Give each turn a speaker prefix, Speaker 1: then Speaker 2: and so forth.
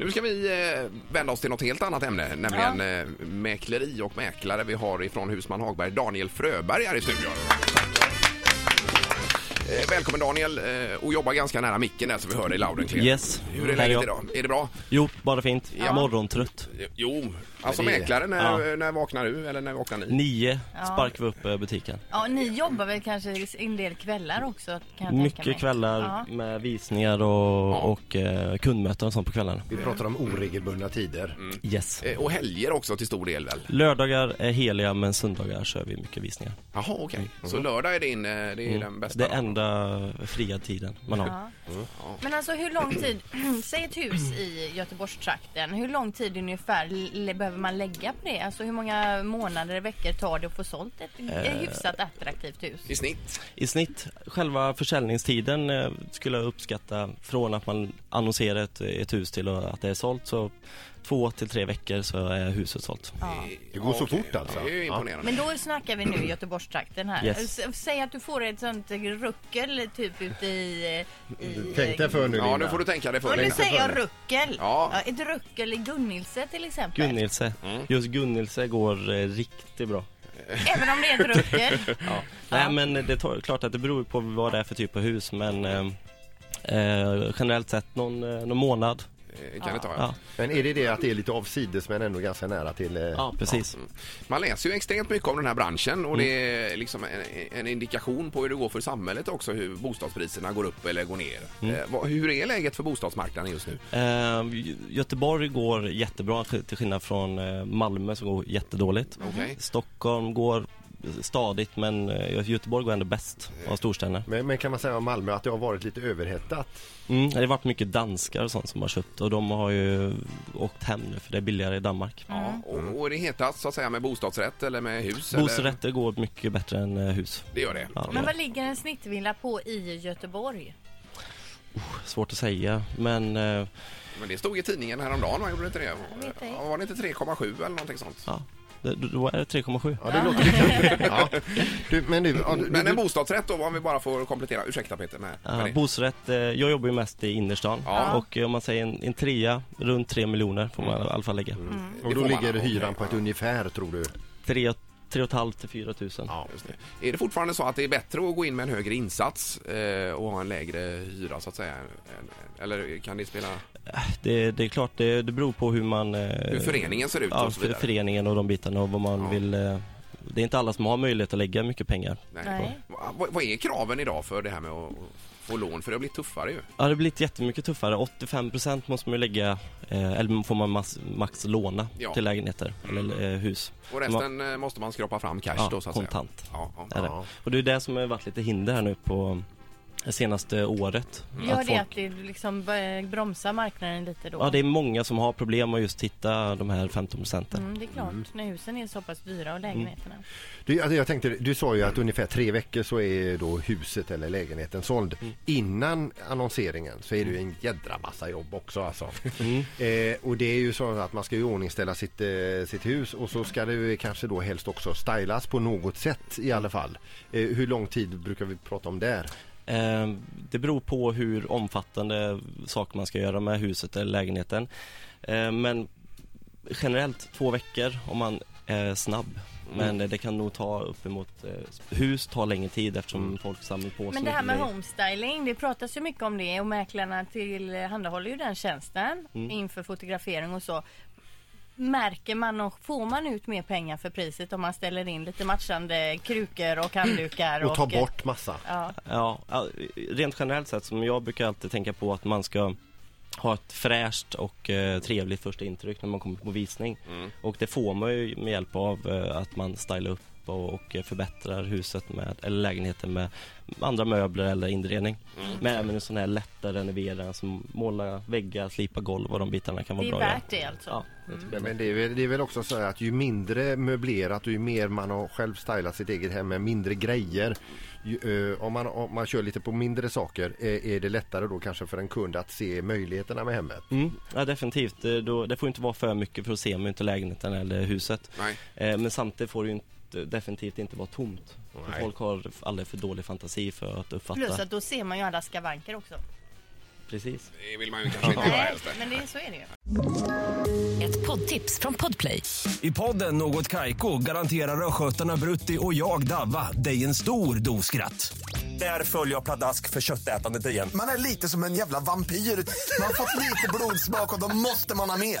Speaker 1: Nu ska vi eh, vända oss till något helt annat ämne, nämligen eh, mäkleri och mäklare. Vi har ifrån Husman Hagberg Daniel Fröberg här i studion. Eh, Välkommen Daniel eh, och jobba ganska nära micken där så vi hör dig loud and clear.
Speaker 2: Yes.
Speaker 1: Hur är
Speaker 2: Här
Speaker 1: läget
Speaker 2: jag.
Speaker 1: idag? Är det bra?
Speaker 2: Jo, bara fint. Morgontrött.
Speaker 1: Jo, alltså
Speaker 3: det är-
Speaker 1: mäklaren, när,
Speaker 2: Ja.
Speaker 1: när vaknar du eller när vaknar ni?
Speaker 2: Nio sparkar vi upp eh, butiken.
Speaker 4: Ja, ni jobbar väl kanske en del kvällar också? Kan jag tänka mig.
Speaker 2: Mycket kvällar
Speaker 4: Ja.
Speaker 2: med visningar och, och eh, kundmöten och sånt på kvällen.
Speaker 3: Vi pratar om oregelbundna tider.
Speaker 2: Yes.
Speaker 1: Mm. Eh, Och helger också till stor del väl?
Speaker 2: Lördagar är heliga men söndagar kör vi mycket visningar.
Speaker 1: Jaha, okej. Så lördag är din, eh, det är den bästa?
Speaker 2: Mm. Det
Speaker 1: då?
Speaker 2: enda fria tiden man har.
Speaker 4: Ja. Men alltså hur lång tid, säg ett hus i Göteborgstrakten, hur lång tid ungefär le- behöver man lägga på det? Alltså hur många månader, veckor tar det att få sålt ett eh. hyfsat attraktivt hus?
Speaker 1: I snitt?
Speaker 2: I snitt, själva försäljningstiden eh, skulle jag uppskatta från att man annonserar ett, ett hus till att det är sålt så två till tre veckor så är huset sålt.
Speaker 4: Ja.
Speaker 3: Det går så fort alltså.
Speaker 1: Det är ju
Speaker 3: Ja.
Speaker 1: imponerande.
Speaker 4: Men då snackar vi nu Göteborgstrakten här.
Speaker 2: Yes.
Speaker 4: S- Säg att du får ett sånt ruckel typ ute i... i
Speaker 3: Tänk dig för nu
Speaker 1: Ja, nu
Speaker 3: Linda.
Speaker 1: får du tänka dig för.
Speaker 4: Och nu
Speaker 1: Linda.
Speaker 4: säger jag ruckel.
Speaker 1: Ja.
Speaker 4: Ja. Ett ruckel i Gunnilse till exempel.
Speaker 2: Gunnilse,
Speaker 1: Mm.
Speaker 2: just Gunnilse går eh, riktigt bra.
Speaker 4: Även om det är ett ruckel.
Speaker 2: Nej men det tar, klart att det beror på vad det är för typ av hus men eh, eh, generellt sett någon, eh, någon månad.
Speaker 1: Eh, Kan det ta, ja.
Speaker 2: Ja.
Speaker 3: Men är det det att det är lite avsides men ändå ganska nära till... eh,
Speaker 2: Ja Mm. precis.
Speaker 1: Man läser ju extremt mycket om den här branschen och det
Speaker 3: Mm.
Speaker 1: är liksom en, en indikation på hur det går för samhället också, hur bostadspriserna går upp eller går ner.
Speaker 3: Mm.
Speaker 1: Eh, vad, hur är läget för bostadsmarknaden just nu?
Speaker 2: Eh, Gö- Göteborg går jättebra sk- till skillnad från eh, Malmö som går jättedåligt.
Speaker 1: Okej.
Speaker 2: Stockholm går stadigt men eh, Göteborg går ändå bäst av storstäderna.
Speaker 3: Men, men kan man säga om Malmö att det har varit lite överhettat?
Speaker 2: Mm, det har varit mycket danskar och sånt som har köpt och de har ju åkt hem nu för det är billigare i Danmark.
Speaker 1: Ja, Mm.
Speaker 3: Mm.
Speaker 1: och, och är det hetast så att säga med bostadsrätt eller med hus? eller?
Speaker 2: Bostadsrätter går mycket bättre än eh, hus.
Speaker 1: Det gör det.
Speaker 2: Ja,
Speaker 4: Men vad ligger en snittvilla på i Göteborg?
Speaker 2: Svårt att säga men eh,
Speaker 1: Men det stod i tidningen häromdagen, va? gjorde det inte det?
Speaker 4: vet ej.
Speaker 1: Ja, var det inte 3,7 eller någonting sånt?
Speaker 2: ja, det- då är det 3,7.
Speaker 3: Ja, det låter lite... Ja. Du, men du, ja, du,
Speaker 1: Men en
Speaker 3: du,
Speaker 1: bostadsrätt då, om vi bara får komplettera. Ursäkta Peter. Med, med
Speaker 2: Ja,
Speaker 1: det.
Speaker 2: bostadsrätt, eh, jag jobbar ju mest i innerstan
Speaker 1: Ja.
Speaker 2: och eh, om man säger en, en trea, runt 3 miljoner får man i alla fall lägga.
Speaker 3: och
Speaker 1: det
Speaker 3: då
Speaker 1: får man,
Speaker 3: ligger
Speaker 1: okej,
Speaker 3: hyran på ett
Speaker 1: ja.
Speaker 3: ungefär tror du?
Speaker 2: Tre, tre och ett halvt till 4 tusen.
Speaker 3: Ja.
Speaker 1: Just det. Är det fortfarande så att det är bättre att gå in med en högre insats eh, och ha en lägre hyra så att säga? Eller kan det spela
Speaker 2: Det, det är klart, det, det beror på hur man... eh,
Speaker 1: hur föreningen ser ut
Speaker 2: ja,
Speaker 1: och så vidare?
Speaker 2: för, föreningen och de bitarna och vad man
Speaker 1: Ja.
Speaker 2: vill... eh, Det är inte alla som har möjlighet att lägga mycket pengar.
Speaker 4: Nej.
Speaker 1: Va- Vad, vad är kraven idag för det här med att få lån? För det har blivit tuffare ju.
Speaker 2: Ja, det har blivit jättemycket tuffare. 85% måste man ju lägga, eh, eller får man max, max låna
Speaker 1: Ja.
Speaker 2: till lägenheter eller eh, hus.
Speaker 1: Och resten eh, måste man skrapa fram cash
Speaker 2: Ja,
Speaker 1: då så att
Speaker 2: kontant.
Speaker 1: säga. Ja,
Speaker 2: Är
Speaker 1: ja.
Speaker 2: det.
Speaker 3: Ja.
Speaker 2: Och det är det som har varit lite hinder här nu på det senaste året.
Speaker 4: Gör
Speaker 2: Mm. Att
Speaker 4: Mm. det
Speaker 2: folk-
Speaker 4: att det liksom eh, bromsar marknaden lite då?
Speaker 2: Ja, det är många som har problem att just hitta de här 15 procenten.
Speaker 4: Mm, det är klart, när husen är så pass dyra och lägenheterna.
Speaker 3: Du, alltså, jag tänkte, du sa ju att ungefär tre veckor så är då huset eller lägenheten såld.
Speaker 1: Mm.
Speaker 3: Innan annonseringen så är det ju en jädra massa jobb också alltså.
Speaker 4: Mm.
Speaker 2: Mm.
Speaker 3: Eh, och det är ju så att man ska ju ordningställa sitt, eh, sitt hus och så ska det ju kanske då helst också stylas på något sätt i alla fall. Eh, hur lång tid brukar vi prata om där?
Speaker 2: Eh, det beror på hur omfattande saker man ska göra med huset eller lägenheten. Eh, men generellt två veckor om man är snabb.
Speaker 4: Mm.
Speaker 2: Men eh, det kan nog ta uppemot, eh, hus tar längre tid eftersom folk samlar på sig
Speaker 4: Mm. Men det här med
Speaker 2: mycket
Speaker 4: homestyling, det pratas ju mycket om det och mäklarna tillhandahåller ju den tjänsten
Speaker 2: Mm.
Speaker 4: inför fotografering och så. Märker man och får man ut mer pengar för priset om man ställer in lite matchande krukor och handdukar?
Speaker 3: Och ta bort massa.
Speaker 4: Ja,
Speaker 2: Ja, ja, rent generellt sett som jag brukar alltid tänka på att man ska ha ett fräscht och eh, trevligt första intryck när man kommer på visning. Och det får man ju med hjälp av eh, att man stylar upp och, och eh, förbättrar huset med, eller lägenheten med andra möbler eller inredning. Men även en sån här lättare renovering som måla väggar, slipa golv och de bitarna kan vara
Speaker 4: det är
Speaker 2: bra att göra.
Speaker 4: värt det alltså.
Speaker 2: Ja, det tycker jag.
Speaker 3: Men det är, väl, det är väl också så här att ju mindre möblerat och ju mer man har själv stylat sitt eget hem med mindre grejer. Ju, eh, om, man, om man kör lite på mindre saker eh, är det lättare då kanske för en kund att se möjligheterna med hemmet.
Speaker 2: Mm, ja, definitivt. Eh, Då, det får inte vara för mycket för att se om inte lägenheten eller huset.
Speaker 1: Nej.
Speaker 2: Eh, men samtidigt får det ju inte, definitivt inte vara tomt. För
Speaker 3: Nej.
Speaker 2: Folk har alldeles för dålig fantasi för att uppfatta.
Speaker 4: Plus att då ser man ju alla skavanker också.
Speaker 2: Precis.
Speaker 1: Det vill man ju kanske inte göra
Speaker 4: Nej,
Speaker 1: helst.
Speaker 4: men det, så är det ju.
Speaker 5: Ett poddtips från Podplay.
Speaker 6: I podden Något Kaiko garanterar östgötarna Brutti och jag, Davva, dig en stor dos skratt. Där följer jag pladask för köttätandet igen.
Speaker 7: Man är lite som en jävla vampyr. Man har fått lite blodsmak och då måste man ha mer.